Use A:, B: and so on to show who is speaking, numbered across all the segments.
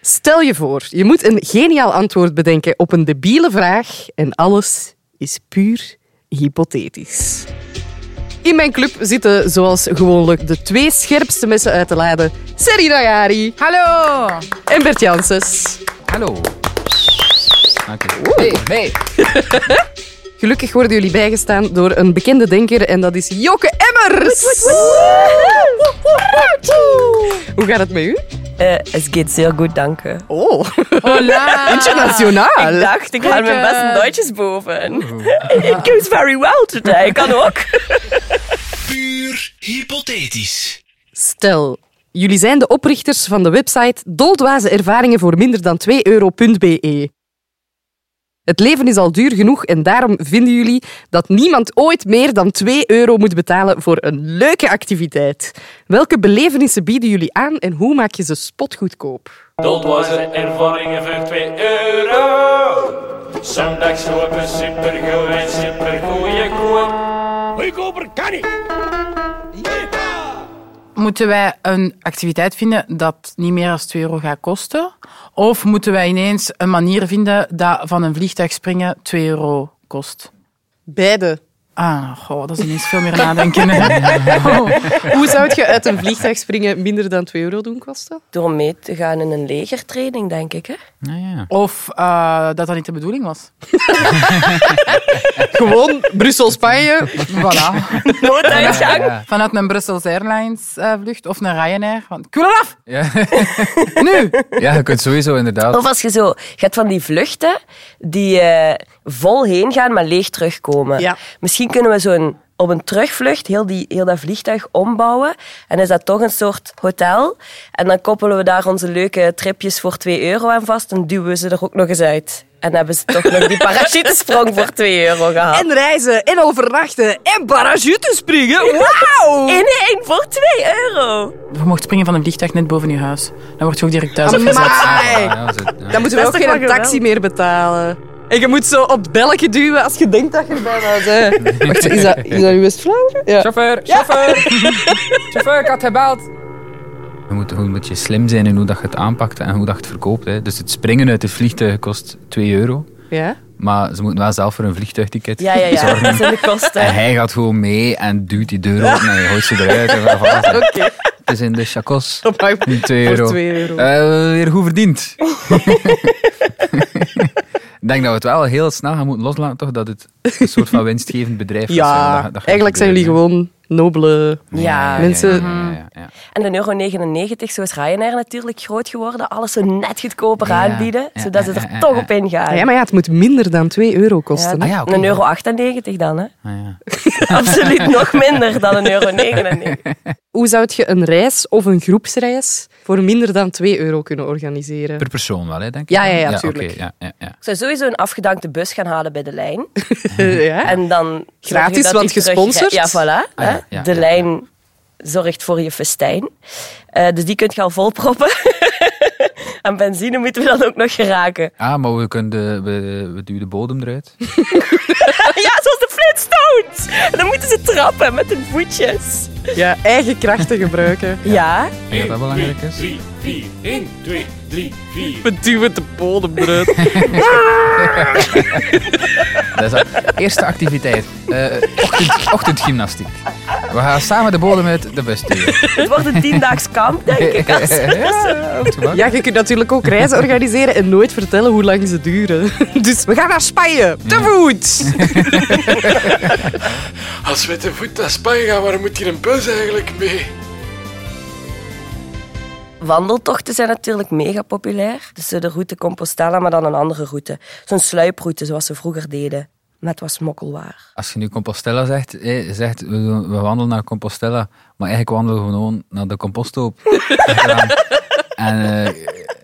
A: Stel je voor, je moet een geniaal antwoord bedenken op een debiele vraag en alles is puur hypothetisch. In mijn club zitten zoals gewoonlijk de twee scherpste messen uit te laden. Serena Jari
B: Hallo!
A: en Bert Janssens.
C: Hallo. Dank u.
B: Nee.
A: Gelukkig worden jullie bijgestaan door een bekende denker en dat is Joke Emmers. Hoe gaat het met u?
D: Äh, es geht sehr gut, danke.
A: Oh,
B: Hola!
D: Ik
A: internationaal.
D: dacht, ik haal mijn beste Duitsjes boven. It goes very well today. Kan ook.
E: Puur hypothetisch.
A: Stel, jullie zijn de oprichters van de website Doldwaze Ervaringen voor minder dan 2 euro.be. Het leven is al duur genoeg en daarom vinden jullie dat niemand ooit meer dan 2 euro moet betalen voor een leuke activiteit. Welke belevenissen bieden jullie aan en hoe maak je ze spotgoedkoop?
F: Dat was er ervaringen voor 2 euro. Zondags lopen supergoed en supergoeie koop. Goedkoper kan niet.
B: Moeten wij een activiteit vinden dat niet meer dan 2 euro gaat kosten? Of moeten wij ineens een manier vinden dat van een vliegtuig springen 2 euro kost?
A: Beide.
B: Ah, goh, dat is ineens veel meer nadenken. hè.
A: Hoe zou je uit een vliegtuig springen minder dan 2 euro doen kosten?
D: Door mee te gaan in een legertraining, denk ik. Hè?
C: Nou ja.
B: Of eh, dat dat niet de bedoeling was.
A: Gewoon Brussel-Spanje.
B: Voilà.
D: Nooduitgang.
B: Vanuit een Brussels Airlines eh, vlucht of een Ryanair. Want, Koel af!
C: Ja.
B: Nu!
C: ja, je kunt sowieso inderdaad.
D: Of als je zo... Je hebt van die vluchten die eh, vol heen gaan, maar leeg terugkomen.
A: Ja.
D: Misschien kunnen we zo'n... Op een terugvlucht heel, die, heel dat vliegtuig ombouwen. En is dat toch een soort hotel. En dan koppelen we daar onze leuke tripjes voor 2 euro aan vast. En duwen we ze er ook nog eens uit. En hebben ze toch nog die parachutesprong voor 2 euro gehaald.
A: En reizen, en overnachten, en parachutespringen. Wauw!
D: In één voor 2 euro.
B: Je mocht springen van een vliegtuig net boven je huis. Dan word je ook direct
A: Ah,
B: thuis.
A: Amai.
C: Ja, dat is het, ja.
A: Dan moeten we
D: Dat
A: ook geen
D: is toch wel geweldig.
A: taxi meer betalen. En je moet zo op het belletje duwen als je denkt dat je erbij bent. Hè. Wacht, is dat, is dat uw West-Vlaanderen? Ja.
C: Chauffeur, chauffeur! chauffeur, ik had gebeld. Je moet gewoon een beetje slim zijn in hoe dat je het aanpakt en hoe dat je het verkoopt. Hè. Dus het springen uit het vliegtuig kost 2 euro.
A: ja.
C: Maar ze moeten wel zelf voor een vliegtuigticket
D: Ja, ja, ja.
C: zorgen.
D: Dat zijn de kosten.
C: En hij gaat gewoon mee en duwt die deur open en je gooit ze eruit. En van, van,
A: Oké.
C: het is in de chacos.
A: Dat maakt
C: Die 2
A: voor
C: euro.
A: 2 euro.
C: Eh, weer goed verdiend. Ik denk dat we het wel heel snel gaan moeten loslaten, toch? Dat het een soort van winstgevend bedrijf is. hè. Dat-
A: Ja,
C: dat gaat
A: eigenlijk zijn jullie
C: gebeuren,
A: gewoon nobele...
D: Ja.
C: hè.
A: mensen-
C: Ja, ja, ja, ja.
D: En de euro 99, zo is Ryanair natuurlijk groot geworden. Alles zo net goedkoper
C: Ja.
D: aanbieden,
C: Ja,
D: zodat
C: ja,
D: ze
C: ja,
D: er
C: ja,
D: toch
C: ja.
D: op ingaan.
A: Ah Ja, maar ja, het moet minder dan 2 euro kosten.
C: Ah ja, oké.
D: Een euro 98 dan, hè?
C: Ah, ja.
D: Absoluut nog minder dan een euro 99.
A: Hoe zou je een reis of een groepsreis voor minder dan 2 euro kunnen organiseren?
C: Per persoon wel, hè, denk ik.
A: Ja, ja, ja,
C: oké,
A: tuurlijk.
C: ja, ja, ja.
D: Ik zou sowieso een afgedankte bus gaan halen bij de lijn.
A: ja.
D: En dan zorg
A: Gratis,
D: je dat die
A: want
D: terug-
A: gesponsord.
D: Ja, voilà.
C: Ah,
D: hè.
C: ja, ja,
D: de
C: ja,
D: lijn zorgt voor je festijn. Eh, dus die kunt je al volproppen. Aan benzine moeten we dan ook nog geraken.
C: Ah, maar we, kunnen de, we, we duwen de bodem eruit.
D: Ja, zoals de Flintstones. En dan moeten ze trappen met hun voetjes.
A: ja, eigen krachten gebruiken.
D: Ja,
C: Ik denk dat dat belangrijk is.
F: 3, 4, 1, 2, 3, 4.
A: We duwen de bodem eruit.
C: Dat is al- Eerste activiteit. Eh, ochtend, ochtendgymnastiek. We gaan samen de bodem uit de bus duwen.
D: het wordt een tiendaags kamp, denk ik. Als
C: Ja, goed gemaakt.
A: Ja, je kunt natuurlijk ook reizen organiseren en nooit vertellen hoe lang ze duren. Dus we gaan naar Spanje, te voet!
G: Als we te voet naar Spanje gaan, waar moet hier een bus eigenlijk mee?
D: Wandeltochten zijn natuurlijk mega populair. Dus eh, de route Compostela, maar dan een andere route. Zo'n sluiproute, zoals ze vroeger deden. Met wat smokkelwaar.
C: Als je nu Compostela zegt, eh, zegt we, doen- we wandelen naar Compostela, maar eigenlijk wandelen we gewoon naar de composthoop. Achteraan. en eh,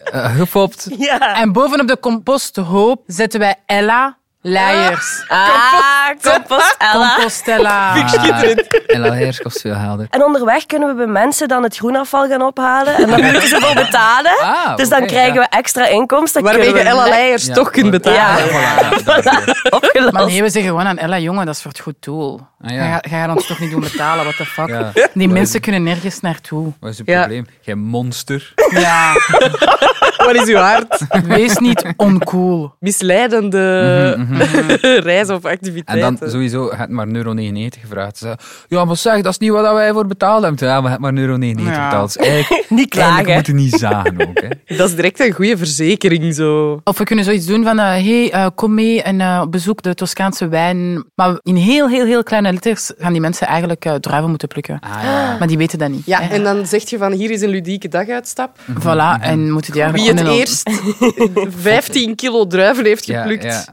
C: eh, gefopt.
D: Ja.
B: En bovenop de composthoop zetten wij Ella Leiers.
D: Ah, compostella.
B: Compostella.
C: En Lalheiers kost veel helder.
D: En onderweg kunnen we bij mensen dan het groenafval gaan ophalen. En daar moeten ze voor betalen.
C: Ah,
D: dus dan
C: oké,
D: krijgen
C: ja.
D: we extra inkomsten.
A: Waarmee je
D: Kunnen we
A: Ella Leijers
C: Ja,
A: toch kunt
C: maar-
A: betalen.
D: Ja.
C: Ah, voilà, ja, dat is het.
D: opgelost.
B: Maar nee, we zeggen gewoon aan Ella, jongen, dat is voor het goed doel.
C: Ah,
B: Ga
C: ja.
B: Ga gaat ons toch niet doen betalen, what the fuck.
C: Ja.
B: Die mensen kunnen nergens naartoe.
C: Wat is het
A: Ja.
C: probleem? Jij monster.
B: Ja,
A: Wat is uw hart?
B: wees niet oncool.
A: Misleidende reis of
C: Mhm, En dan
A: activiteiten.
C: sowieso, je hebt maar euro 99 gevraagd. Ze zei, ja, maar zeg, dat is niet wat wij voor betaald hebben. Ja, maar je hebt maar euro 99
B: Ja.
C: betaald. Dus eigenlijk,
D: Niet
C: eigenlijk
D: klagen.
C: moeten niet zagen ook. Hè. Ah,
A: Dat is direct een goede verzekering. Zo.
B: Of we kunnen zoiets doen van, eh, hey, eh, kom mee en eh, bezoek de Toscaanse wijn. Maar in heel, heel, heel kleine letters gaan die mensen eigenlijk eh, druiven moeten plukken.
C: Ah, ja.
B: Maar die weten dat niet.
A: Ja,
B: hè.
A: en dan zeg je van hier is een ludieke daguitstap.
B: Voilà, en moeten die
A: Wie
B: eigenlijk
A: het
B: gewoon in-
A: eerst 15 kilo druiven heeft
C: Ja,
A: geplukt.
C: ja.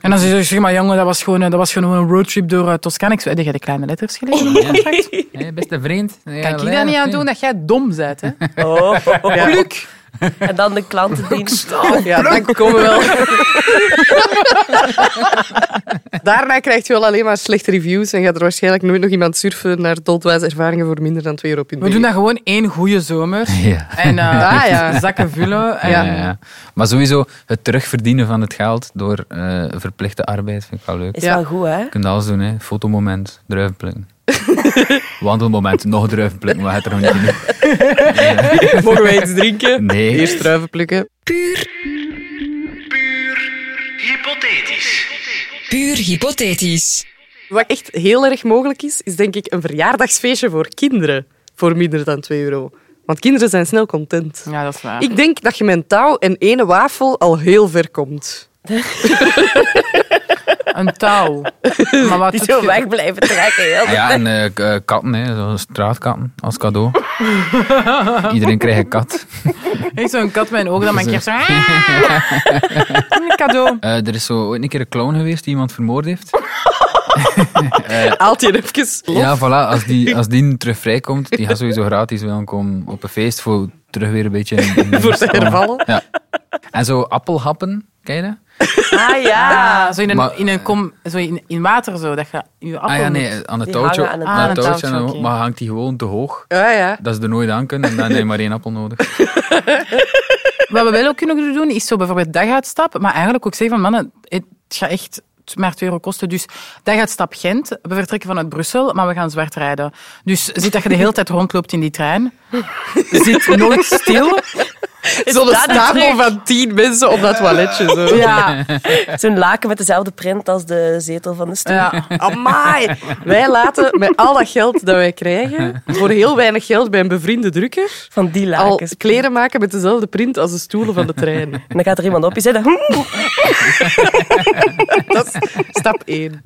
B: En dan zeg je, zeg maar jongen, dat was gewoon, eh, dat was gewoon een roadtrip door eh, Toscane. Ik zei, heb jij de kleine letters gelezen in het contract?
C: Hé, beste vriend.
B: Oh, Kan ik hier dat niet aan doen dat jij dom bent, hè?
D: Oh, oh, oh.
B: Pluk!
D: En dan de klantendienst.
A: Ja, dan komen we wel. Daarna krijgt je wel alleen maar slechte reviews en gaat er waarschijnlijk nooit nog iemand surfen naar doldwijze ervaringen voor minder dan 2 euro.
B: We doen dat gewoon één goede zomer.
C: Ja.
B: En eh,
A: Ah, ja.
B: zakken vullen. En,
C: Ja, ja, ja. Maar sowieso het terugverdienen van het geld door eh, verplichte arbeid vind ik wel leuk.
D: Is
A: Ja.
D: wel goed, hè?
C: Je kunt alles doen, hè. fotomoment, druivenplukken. Wandelmoment, nog druivenplukken, maar het er nog niet genoeg.
A: Mogen wij iets drinken?
C: Nee.
A: Eerst druiven plukken.
E: Hypothetisch.
H: Puur hypothetisch.
A: Wat echt heel erg mogelijk is, is denk ik een verjaardagsfeestje voor kinderen voor minder dan 2 euro. Want kinderen zijn snel content.
B: ja, dat is waar.
A: Ik denk dat je met een touw en ene wafel al heel ver komt.
B: Een touw. Maar wat
D: Die
B: doet
D: zo
B: je-
D: weg blijven trekken. Heel
C: Ah Ja, en eh, k- eh, katten, hè. Zo straatkatten als cadeau. Iedereen krijgt een kat.
B: Echt zo'n kat met een oog dat mijn keer zo... Een cadeau.
C: Eh, er is zo ooit een keer een clown geweest die iemand vermoord heeft.
A: Haalt je even los?
C: Ja, voilà. Als die, als die terug vrijkomt, die gaat sowieso gratis wel komen op een feest voor terug weer een beetje... in- in-
A: Voor te hervallen.
C: Ja. En zo appelhappen, ken je dat?
D: Ah ja.
B: Ah, zo in een,
C: Maar-
B: in een kom... Zo in, in water, zo. Dat je je appel
C: Ah ja,
B: moet-
C: nee, aan het
D: Die
C: touwtje.
D: hangen aan het
B: Ah, aan het
C: touwtje,
B: touwtje,
C: en-
B: oké.
C: Maar hangt die gewoon te hoog,
A: Ja, ja.
C: dat ze er nooit aan kunnen. En dan heb je maar één appel nodig.
B: Wat we wel ook kunnen doen, is zo bijvoorbeeld daguitstap. Maar eigenlijk ook zeggen van, mannen, het gaat echt maar 2 euro kosten. Dus daguitstap Gent. We vertrekken vanuit Brussel, maar we gaan zwart rijden. Dus zit dat je de hele tijd rondloopt in die trein. Zit nooit stil.
A: Zo'n
D: dat een
A: stapel
D: truc?
A: van tien mensen op dat toiletje. Zo.
B: Ja.
D: Zo'n laken met dezelfde print als de zetel van de stoel.
B: ja.
A: Amai. Wij laten met al dat geld dat wij krijgen, voor heel weinig geld bij een bevriende drukker,
D: Van die
A: al
D: lakens.
A: kleren maken met dezelfde print als de stoelen van de trein.
D: En dan gaat er iemand op je zitten. Hm,
A: Dat is stap één.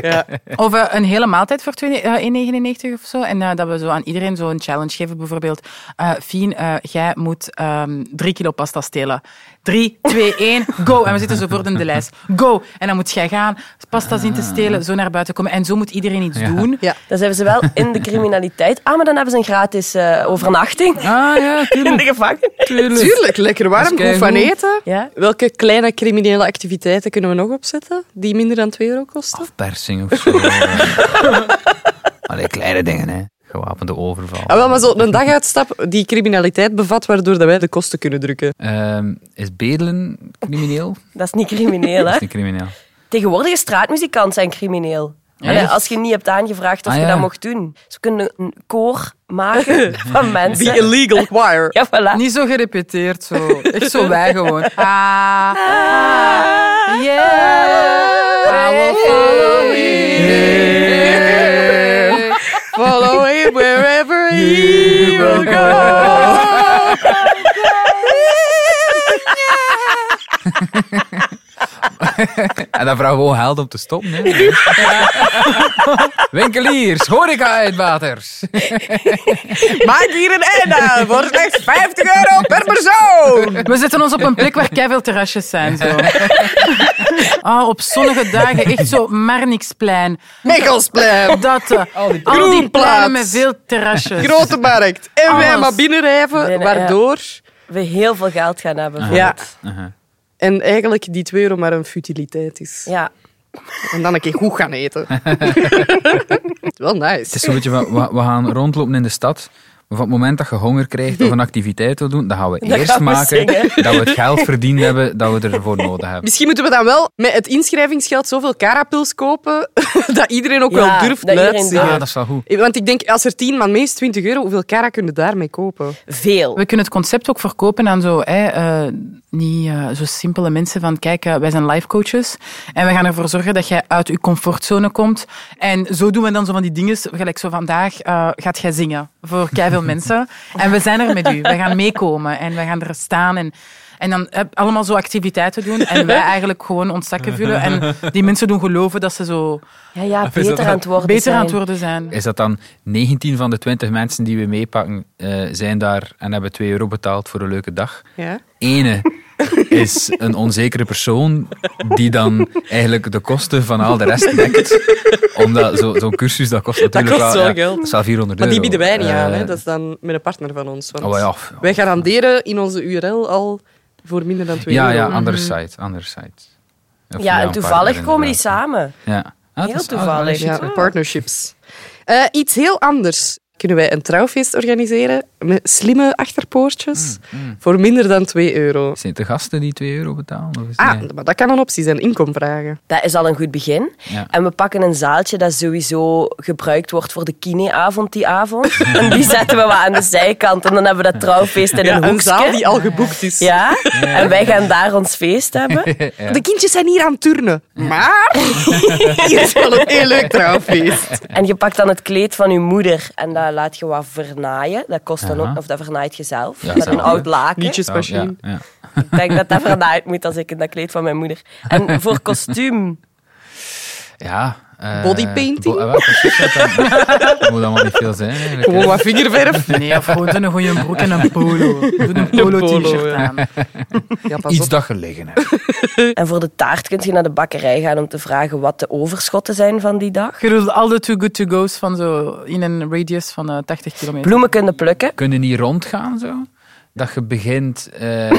A: Ja.
B: Of eh, een hele maaltijd voor 2 eh, 1,99 of zo. En eh, dat we zo aan iedereen zo een challenge geven. Bijvoorbeeld, eh Fien, eh, jij moet ehm drie kilo pasta stelen. 3, 2, 1, go. En we zitten zo voor de lijst. Go. En dan moet jij gaan, pasta zien te stelen, zo naar buiten komen. En zo moet iedereen iets doen.
A: Ah. Ja.
D: Dan zijn we ze wel in de criminaliteit. Ah, maar dan hebben ze een gratis eh, overnachting
C: Ah ja,
D: in
C: tuurlijk.
D: de gevangenis.
A: Tuurlijk, lekker warm,
C: Dat is
A: goed
C: keigoed.
A: van eten.
D: Ja.
A: Welke kleine criminele activiteiten kunnen we nog opzetten die minder dan 2 euro kosten?
C: Persing of zo. Allee, kleine dingen, hè. Gewapende overval.
A: Ah, wel, maar zo een daguitstap die criminaliteit bevat, waardoor dat wij de kosten kunnen drukken.
C: Ehm, is bedelen crimineel?
D: Dat is niet crimineel,
C: Dat
D: hè?
C: is niet crimineel.
D: Tegenwoordige straatmuzikanten zijn crimineel. Allee,
C: Echt?
D: als je niet hebt aangevraagd of
C: Ah,
D: je
C: ja.
D: dat mocht doen. Ze kunnen een koor maken van
A: The
D: mensen.
A: illegal choir.
D: Ja, voilà.
B: Niet zo gerepeteerd, zo. Echt zo wij gewoon. Ah, yeah. I will follow you.
A: Follow him wherever he will go.
C: En dan vragen we gewoon geld om te stoppen, hè. Winkeliers, horeca-uitbaters.
A: Maak hier een einde aan voor slechts 50 euro per persoon.
B: We zetten ons op een plek waar keiveel terrasjes zijn. Zo. Ah, op zonnige dagen echt zo Marnixplein.
A: Mechelsplein,
B: Dat, eh, al die pleinen
A: Groenplaats.
B: met veel terrasjes.
A: Grote Markt. En wij
B: Alles.
A: maar binnenrijven,
D: Binnen, ja.
A: waardoor...
D: We heel veel geld gaan hebben.
A: Ja,
C: Aha.
A: En eigenlijk die 2 euro maar een futiliteit is.
D: Ja.
A: En dan een keer goed gaan eten. Wel nice.
C: Het is zo'n beetje van, we, we gaan rondlopen in de stad. Maar van het moment dat je honger krijgt of een activiteit wil doen, dan gaan we
D: Dan
C: eerst
D: gaan we
C: maken
D: zingen.
C: dat we het geld verdiend hebben dat we ervoor nodig hebben.
A: Misschien moeten we dan wel met het inschrijvingsgeld zoveel carapils kopen dat iedereen ook
D: Ja,
A: wel durft
D: dat iedereen
A: luid te
C: Ah,
A: zingen.
C: dat is wel goed.
A: Want ik denk, als er tien man mee is, 20 euro, hoeveel cara kun je daarmee kopen?
D: Veel.
B: We kunnen het concept ook verkopen aan zo, hè, eh, niet eh, zo simpele mensen van kijk, eh, wij zijn life coaches en we gaan ervoor zorgen dat jij uit je comfortzone komt. En zo doen we dan zo van die dingen, gelijk zo vandaag eh, gaat jij zingen voor veel mensen. En we zijn er met u, we gaan meekomen en we gaan er staan en, en dan eh, allemaal zo activiteiten doen en wij eigenlijk gewoon ons zakken vullen. En die mensen doen geloven dat ze zo
D: Ja, ja beter aan het worden
B: beter aan het
D: zijn.
B: worden zijn.
C: Is dat dan 19 van de 20 mensen die we meepakken eh, zijn daar en hebben 2 euro betaald voor een leuke dag?
A: Ja.
C: Ene is een onzekere persoon die dan eigenlijk de kosten van al de rest dekt. Omdat zo- zo'n cursus, dat kost natuurlijk
A: kost
C: wel,
A: wel
C: ja,
A: geld.
C: dat is wel 400
A: Maar die
C: euro.
A: bieden wij niet aan, hè.
C: Eh,
A: dat is dan met een partner van ons. Want
C: oh, ja, ja.
A: Wij garanderen in onze URL al voor minder dan 2
C: Ja,
A: euro. Mhm.
C: ja, andere site. Andere site. Of
D: Ja, en
C: een
D: toevallig
C: partner,
D: komen die
C: inderdaad.
D: samen.
C: Ja. Ah,
D: Heel
C: dat is- ah,
D: toevallig.
C: dat is-
A: Ja, partnerships. Eh, iets heel anders. Kunnen wij een trouwfeest organiseren met slimme achterpoortjes voor minder dan 2 euro?
C: Zijn het de gasten die 2 euro betalen? Of is
A: Ah,
C: nee?
A: maar dat kan een optie zijn. Inkom vragen.
D: Dat is al een goed begin.
C: Ja.
D: En we pakken een zaaltje dat sowieso gebruikt wordt voor de kineavond die avond. en die zetten we wat aan de zijkant. En dan hebben we dat trouwfeest in een
A: Ja, een
D: hoekje.
A: zaal die al geboekt is.
D: Ja, en wij gaan daar ons feest hebben.
A: De kindjes zijn hier aan het turnen. Maar hier is wel een heel leuk trouwfeest.
D: En je pakt dan het kleed van je moeder en dat laat je wat vernaaien. Dat kost dan
C: Aha.
D: ook, of dat vernaait je zelf.
C: Ja,
D: met
C: zelf,
D: een oud
C: hè.
D: laken.
A: Nietjesmachine.
C: Ja, ja.
D: Ik denk dat dat vernaaid moet als ik in dat kleed van mijn moeder. En voor kostuum.
C: ja eh,
A: Bodypainting?
C: bo- ah, wel, precies, dat dan- dat moet allemaal niet veel zijn. eigenlijk, hè.
A: Gewoon wat vingerverf.
B: Nee, of gewoon doe een goede broek en een polo. Doe een
A: polo,
B: polo-t-shirt
A: ja.
B: aan.
A: Ja, pas
C: Iets
A: op.
C: dat gelegen heeft.
D: En voor de taart kun je naar de bakkerij gaan om te vragen wat de overschotten zijn van die dag.
B: Je doet al de too good to go's van zo in een radius van eh, 80 kilometer.
D: Bloemen kunnen plukken.
C: Kun je niet rondgaan zo? Dat je begint... eh,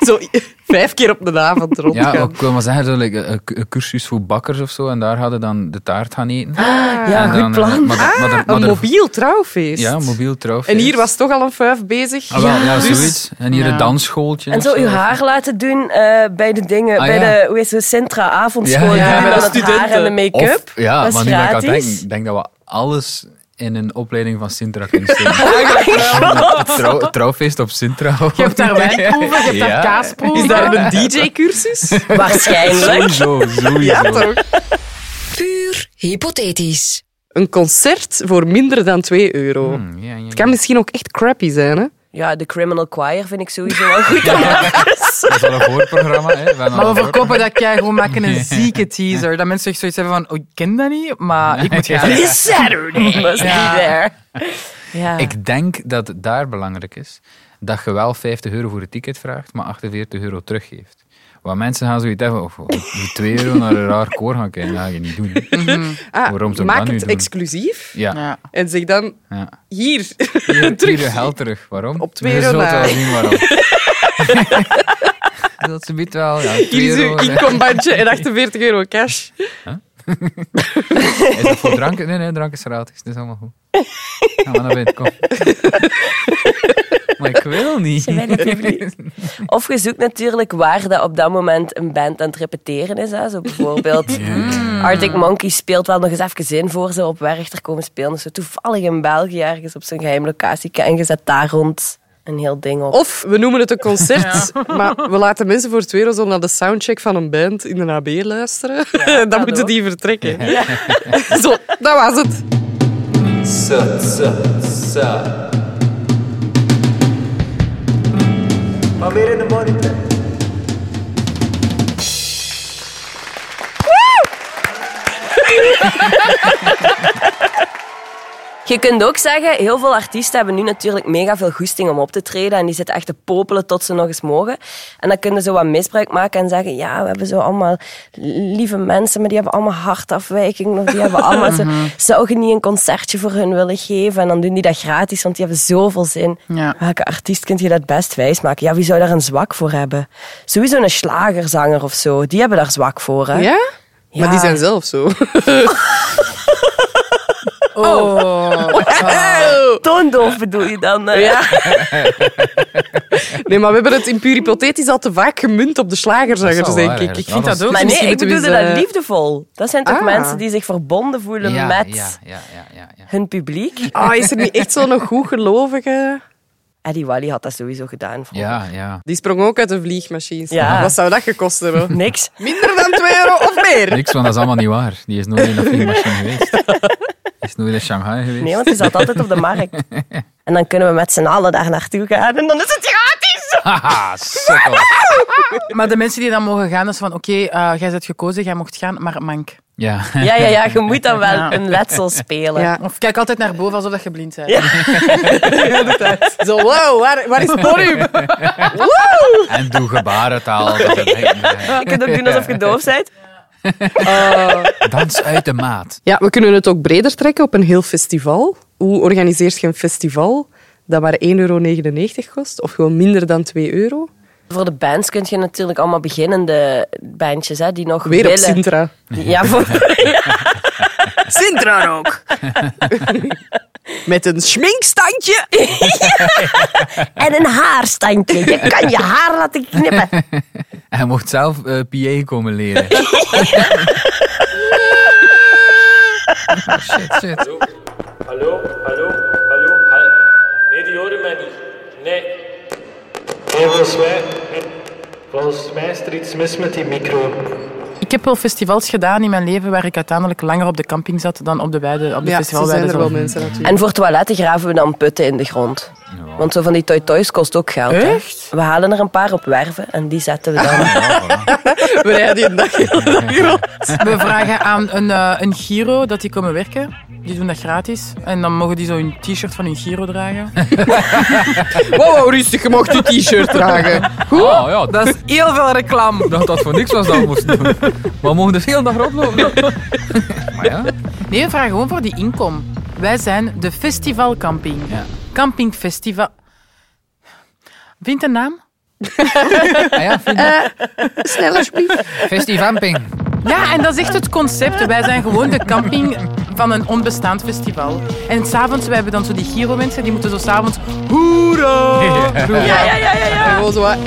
A: Zo vijf keer op de avond rondgaan.
C: ja, ik wil maar zeggen, zo, like, een, een cursus voor bakkers of zo. En daar hadden dan de taart gaan eten.
A: Ah,
D: Ja,
C: En
D: goed
C: dan, eh,
D: plan.
C: maar er- maar er- maar
A: een
C: er-
A: mobiel trouwfeest.
C: Ja, mobiel trouwfeest.
A: En hier was toch al een vijf bezig.
C: Ah, wel, ja, zoiets. En hier
B: Ja.
C: een dansschooltje.
D: En
C: of
D: zo uw haar laten doen eh, bij de dingen,
C: Ah,
D: bij
C: ja.
D: de hoe is het, Centra avondschool.
C: Ja, ja,
D: doen
C: ja.
D: we dan het
A: Studenten.
D: haar en de make-up.
C: Of, ja,
D: dat is
C: maar nu dat ik aan
D: gratis.
C: denk, ik denk dat we alles in een opleiding van Sintra kunnen steken. Trouw, trouwfeest op Sintra.
B: Je hebt daar wijnproeven, je hebt daar
C: Ja.
B: kaasproeven.
A: Is daar een DJ-cursus?
D: Waarschijnlijk.
C: Sowieso, sowieso.
H: Puur hypothetisch.
A: Een concert voor minder dan 2 euro.
C: Hmm, ja, ja, ja.
A: Het kan misschien ook echt crappy zijn, hè?
D: Ja, de Criminal Choir vind ik sowieso wel goed.
C: Dat is al een voorprogramma. Hè. hebben al
B: Maar
C: een
B: we verkopen
C: voorprogramma.
B: dat jij gewoon maken een zieke teaser. Dat mensen echt zoiets hebben van, oh, ik ken dat niet, maar ik moet gaan.
D: This Saturday must
B: Ja.
D: be there. Ja.
C: Ik denk dat het daar belangrijk is dat je wel 50 euro voor het ticket vraagt, maar 48 euro teruggeeft. Want mensen gaan zoiets hebben, of of die 2 euro naar een raar koor gaan kijken, dat ga je niet doen.
A: Ah,
C: Waarom zou ik
A: maak
C: dat nu
A: het
C: doen?
A: exclusief
C: Ja.
B: Ja.
A: en zeg dan
C: ja.
A: hier.
C: Hier,
A: Terug.
C: hier je geld terug. Waarom?
A: Op twee
C: Je
A: euro
C: zult
A: na.
C: wel zien waarom. Dat ze biedt wel. Ja, twee
A: Hier is uw
C: euro, hè.
A: inkombandje en 48 euro cash.
C: Is dat voor drank? Nee, nee, drank is gratis. Het is allemaal goed. Ga maar naar binnen, kom. Maar ik wil niet.
D: Zijn wij dat publiek? Of je zoekt natuurlijk waar dat op dat moment een band aan het repeteren is. Hè. Zo bijvoorbeeld Hmm. Arctic Monkey speelt wel nog eens even in voor ze op Werchter komen spelen. Dus zo toevallig in België ergens op zijn geheim locatie en je zet daar rond een heel ding op.
A: Of we noemen het een concert, maar we laten mensen voor 2 euro zo naar de soundcheck van een band in de AB luisteren. dan
D: dat
A: moeten
D: ook.
A: die vertrekken. zo, dat was het.
D: Je kunt ook zeggen, heel veel artiesten hebben nu natuurlijk mega veel goesting om op te treden. En die zitten echt te popelen tot ze nog eens mogen. En dan kunnen ze wat misbruik maken en zeggen, ja, we hebben zo allemaal lieve mensen, maar die hebben allemaal hartafwijkingen. Of die hebben allemaal zo, zou je niet een concertje voor hun willen geven? En dan doen die dat gratis, want die hebben zoveel zin.
B: Ja.
D: Welke artiest kun je dat best wijsmaken? Ja, wie zou daar een zwak voor hebben? Sowieso een slagerzanger of zo. Die hebben daar zwak voor, hè?
A: Ja? Maar
D: Ja.
A: die zijn zelf zo.
B: Oh.
D: Toondoof bedoel je dan? eh? hè?
A: Nee, maar we hebben het in puur hypothetisch al te vaak gemunt op de
C: Dat
A: slagerzangers,
C: is wel
A: denk
C: waar,
A: ik. Ik vind
C: dat
A: dat ook.
D: Maar nee,
A: Misschien
D: ik
A: moeten we
D: bedoelde
A: eens,
D: dat
A: eh,
D: liefdevol. Dat zijn toch
A: Ah.
D: mensen die zich verbonden voelen
C: ja,
D: met
C: Ja, ja, ja, ja, ja.
D: hun publiek.
A: Ah, is er niet echt zo'n goed gelovige?
D: Eddie Wally had dat sowieso gedaan. vroeger.
C: ja, ja.
A: Die sprong ook uit de vliegmachines.
D: Ja.
A: Wat zou dat gekost hebben?
D: Niks.
A: Minder dan 2 euro of meer?
C: Niks, want dat is allemaal niet waar. Die is nooit in dat vliegmachine geweest. Is nooit in Shanghai geweest.
D: Nee, want die zat altijd op de markt. En dan kunnen we met z'n allen daar naartoe gaan en dan is het gratis.
C: Haha, sukkel.
B: Maar de mensen die dan mogen gaan, dat is van oké, eh, jij bent gekozen, jij mocht gaan, maar mank.
C: Ja.
D: Ja, ja, ja, je moet dan wel een letsel spelen.
A: Ja.
B: Of kijk altijd naar boven alsof dat je blind bent.
A: Zo, wow, waar, waar is Podium?
C: En doe gebarentaal. dat het
D: Je kunt ook doen alsof je doof bent. Ah.
C: Dans uit de maat.
A: Ja, we kunnen het ook breder trekken op een heel festival. Hoe organiseert je een festival dat maar 1,99 euro kost? Of gewoon minder dan 2 euro?
D: Voor de bands kun je natuurlijk allemaal beginnende bandjes hè, die nog
A: Weer op
D: willen.
A: Sintra.
D: Ja, voor...
A: Sintra ook! Met een schminkstandje.
D: en een haarstandje. Je kan je haar laten knippen.
C: Hij mocht zelf eh PA komen leren. shit, shit.
F: Hallo, hallo, hallo. Ha- nee, die horen mij niet. Nee. Nee, volgens mij... Volgens mij is er iets mis met die micro.
B: Ik heb wel festivals gedaan in mijn leven waar ik uiteindelijk langer op de camping zat dan op de, weide, op de
A: Ja, zo
B: festivalweide.
A: zijn er wel
B: zelf.
A: mensen natuurlijk.
D: En voor toiletten graven we dan putten in de grond. Want zo van die toy-toys kost ook geld. hè.
A: Echt?
D: We halen er een paar op werven en die zetten we dan.
A: We rijden die een dag heel de dag rond.
B: We vragen aan een, eh, een Giro dat die komen werken. Die doen dat gratis. En dan mogen die zo een t-shirt van hun Giro dragen.
A: Wow, wow, rustig, je mocht je t-shirt dragen.
C: Oh ja, dat
B: Dat is heel veel reclame.
C: dacht dat voor niks was dat we moesten doen. Maar we mogen dus heel de dag rondlopen. Maar ja,
B: Nee, we vragen gewoon voor die inkom. Wij zijn de festivalcamping.
C: Ja.
B: Camping Festival. Vindt een naam?
C: ah, ja vind je?
A: Snel alsjeblieft.
C: Festivamping.
B: Ja, en dat is echt het concept. Wij zijn gewoon de camping van een onbestaand festival. En s'avonds, wij hebben dan zo die Giro-mensen, die moeten zo s'avonds...
D: Ja, ja, ja, ja. ja.
A: En gewoon zo eh. Oh. wat,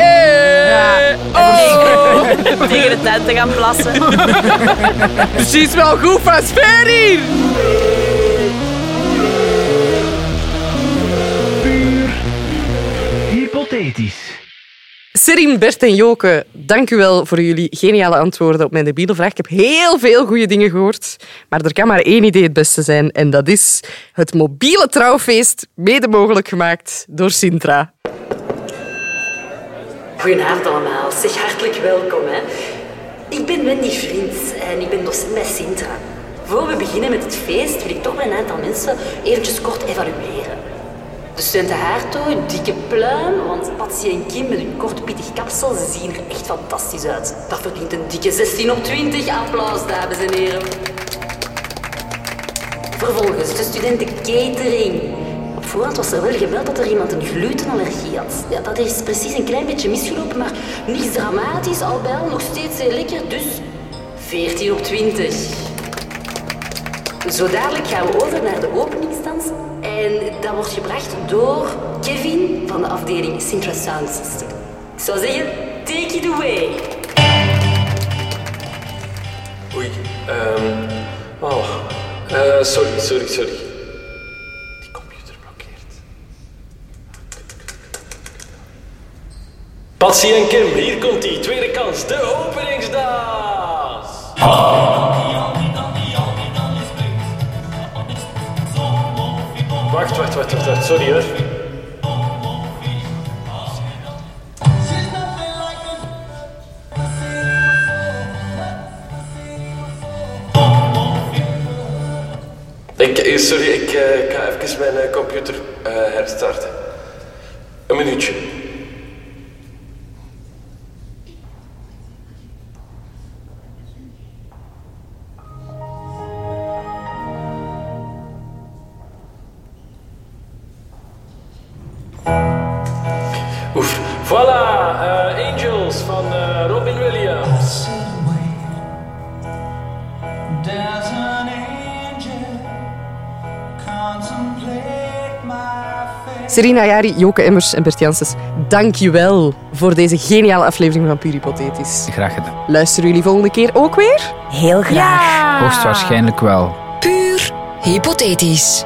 A: hey.
D: Tegen, tegen de tent te gaan plassen.
A: Precies wel goed van sfeer hier.
E: Hypothetisch.
A: Serim, Bert en Joke, dank u wel voor jullie geniale antwoorden op mijn debiele vraag. Ik heb heel veel goede dingen gehoord, maar er kan maar één idee het beste zijn. En dat is het mobiele trouwfeest, mede mogelijk gemaakt door Sintra.
I: Goedenavond allemaal. Zeg hartelijk welkom. Hè. Ik ben Wendy Vriends en ik ben docent bij Sintra. Voor we beginnen met het feest wil ik toch een aantal mensen eventjes kort evalueren. De studenten Haartoe, dikke pluim, want Patsy en Kim met hun kort pittig kapsel ze zien er echt fantastisch uit. Dat verdient een dikke 16 op 20 applaus, dames en heren. Vervolgens de studenten catering. Op voorhand was er wel gemeld dat er iemand een glutenallergie had. Ja, dat is precies een klein beetje misgelopen, maar niets dramatisch, al bij al nog steeds heel lekker, dus 14 op 20. Zo dadelijk gaan we over naar de openingsdans en dat wordt gebracht door Kevin van de afdeling Sintra Sound System. Ik zou zeggen, take it away.
F: Oei. ehm oh. Eh, sorry, sorry, sorry. Die computer blokkeert. Patsy en Kim, hier komt die tweede kans, de openingsdans. Wacht, wacht, wacht, wacht, wacht, sorry hoor.
G: Ik, eh, sorry, ik eh, ik ga even even mijn eh, computer eh, herstarten. Een minuutje.
F: Oef. Voilà, eh, Angels van eh, Robin Williams.
A: Serena Jari, Joke Emmers en Bert Janssens, dank je wel voor deze geniale aflevering van Puur Hypothetisch.
C: Graag gedaan.
A: Luisteren jullie volgende keer ook weer?
D: Heel graag.
C: Hoogstwaarschijnlijk wel.
H: Puur hypothetisch.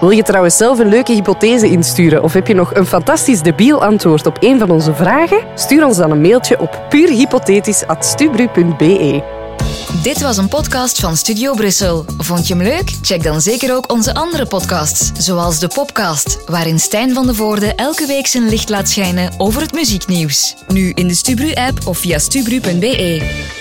A: Wil je trouwens zelf een leuke hypothese insturen of heb je nog een fantastisch debiel antwoord op een van onze vragen? Stuur ons dan een mailtje op puurhypothetisch.stubru.be.
H: Dit was een podcast van Studio Brussel. Vond je hem leuk? Check dan zeker ook onze andere podcasts, zoals de Popcast, waarin Stijn van de Voorde elke week zijn licht laat schijnen over het muzieknieuws. Nu in de Stubru-app of via stubru.be.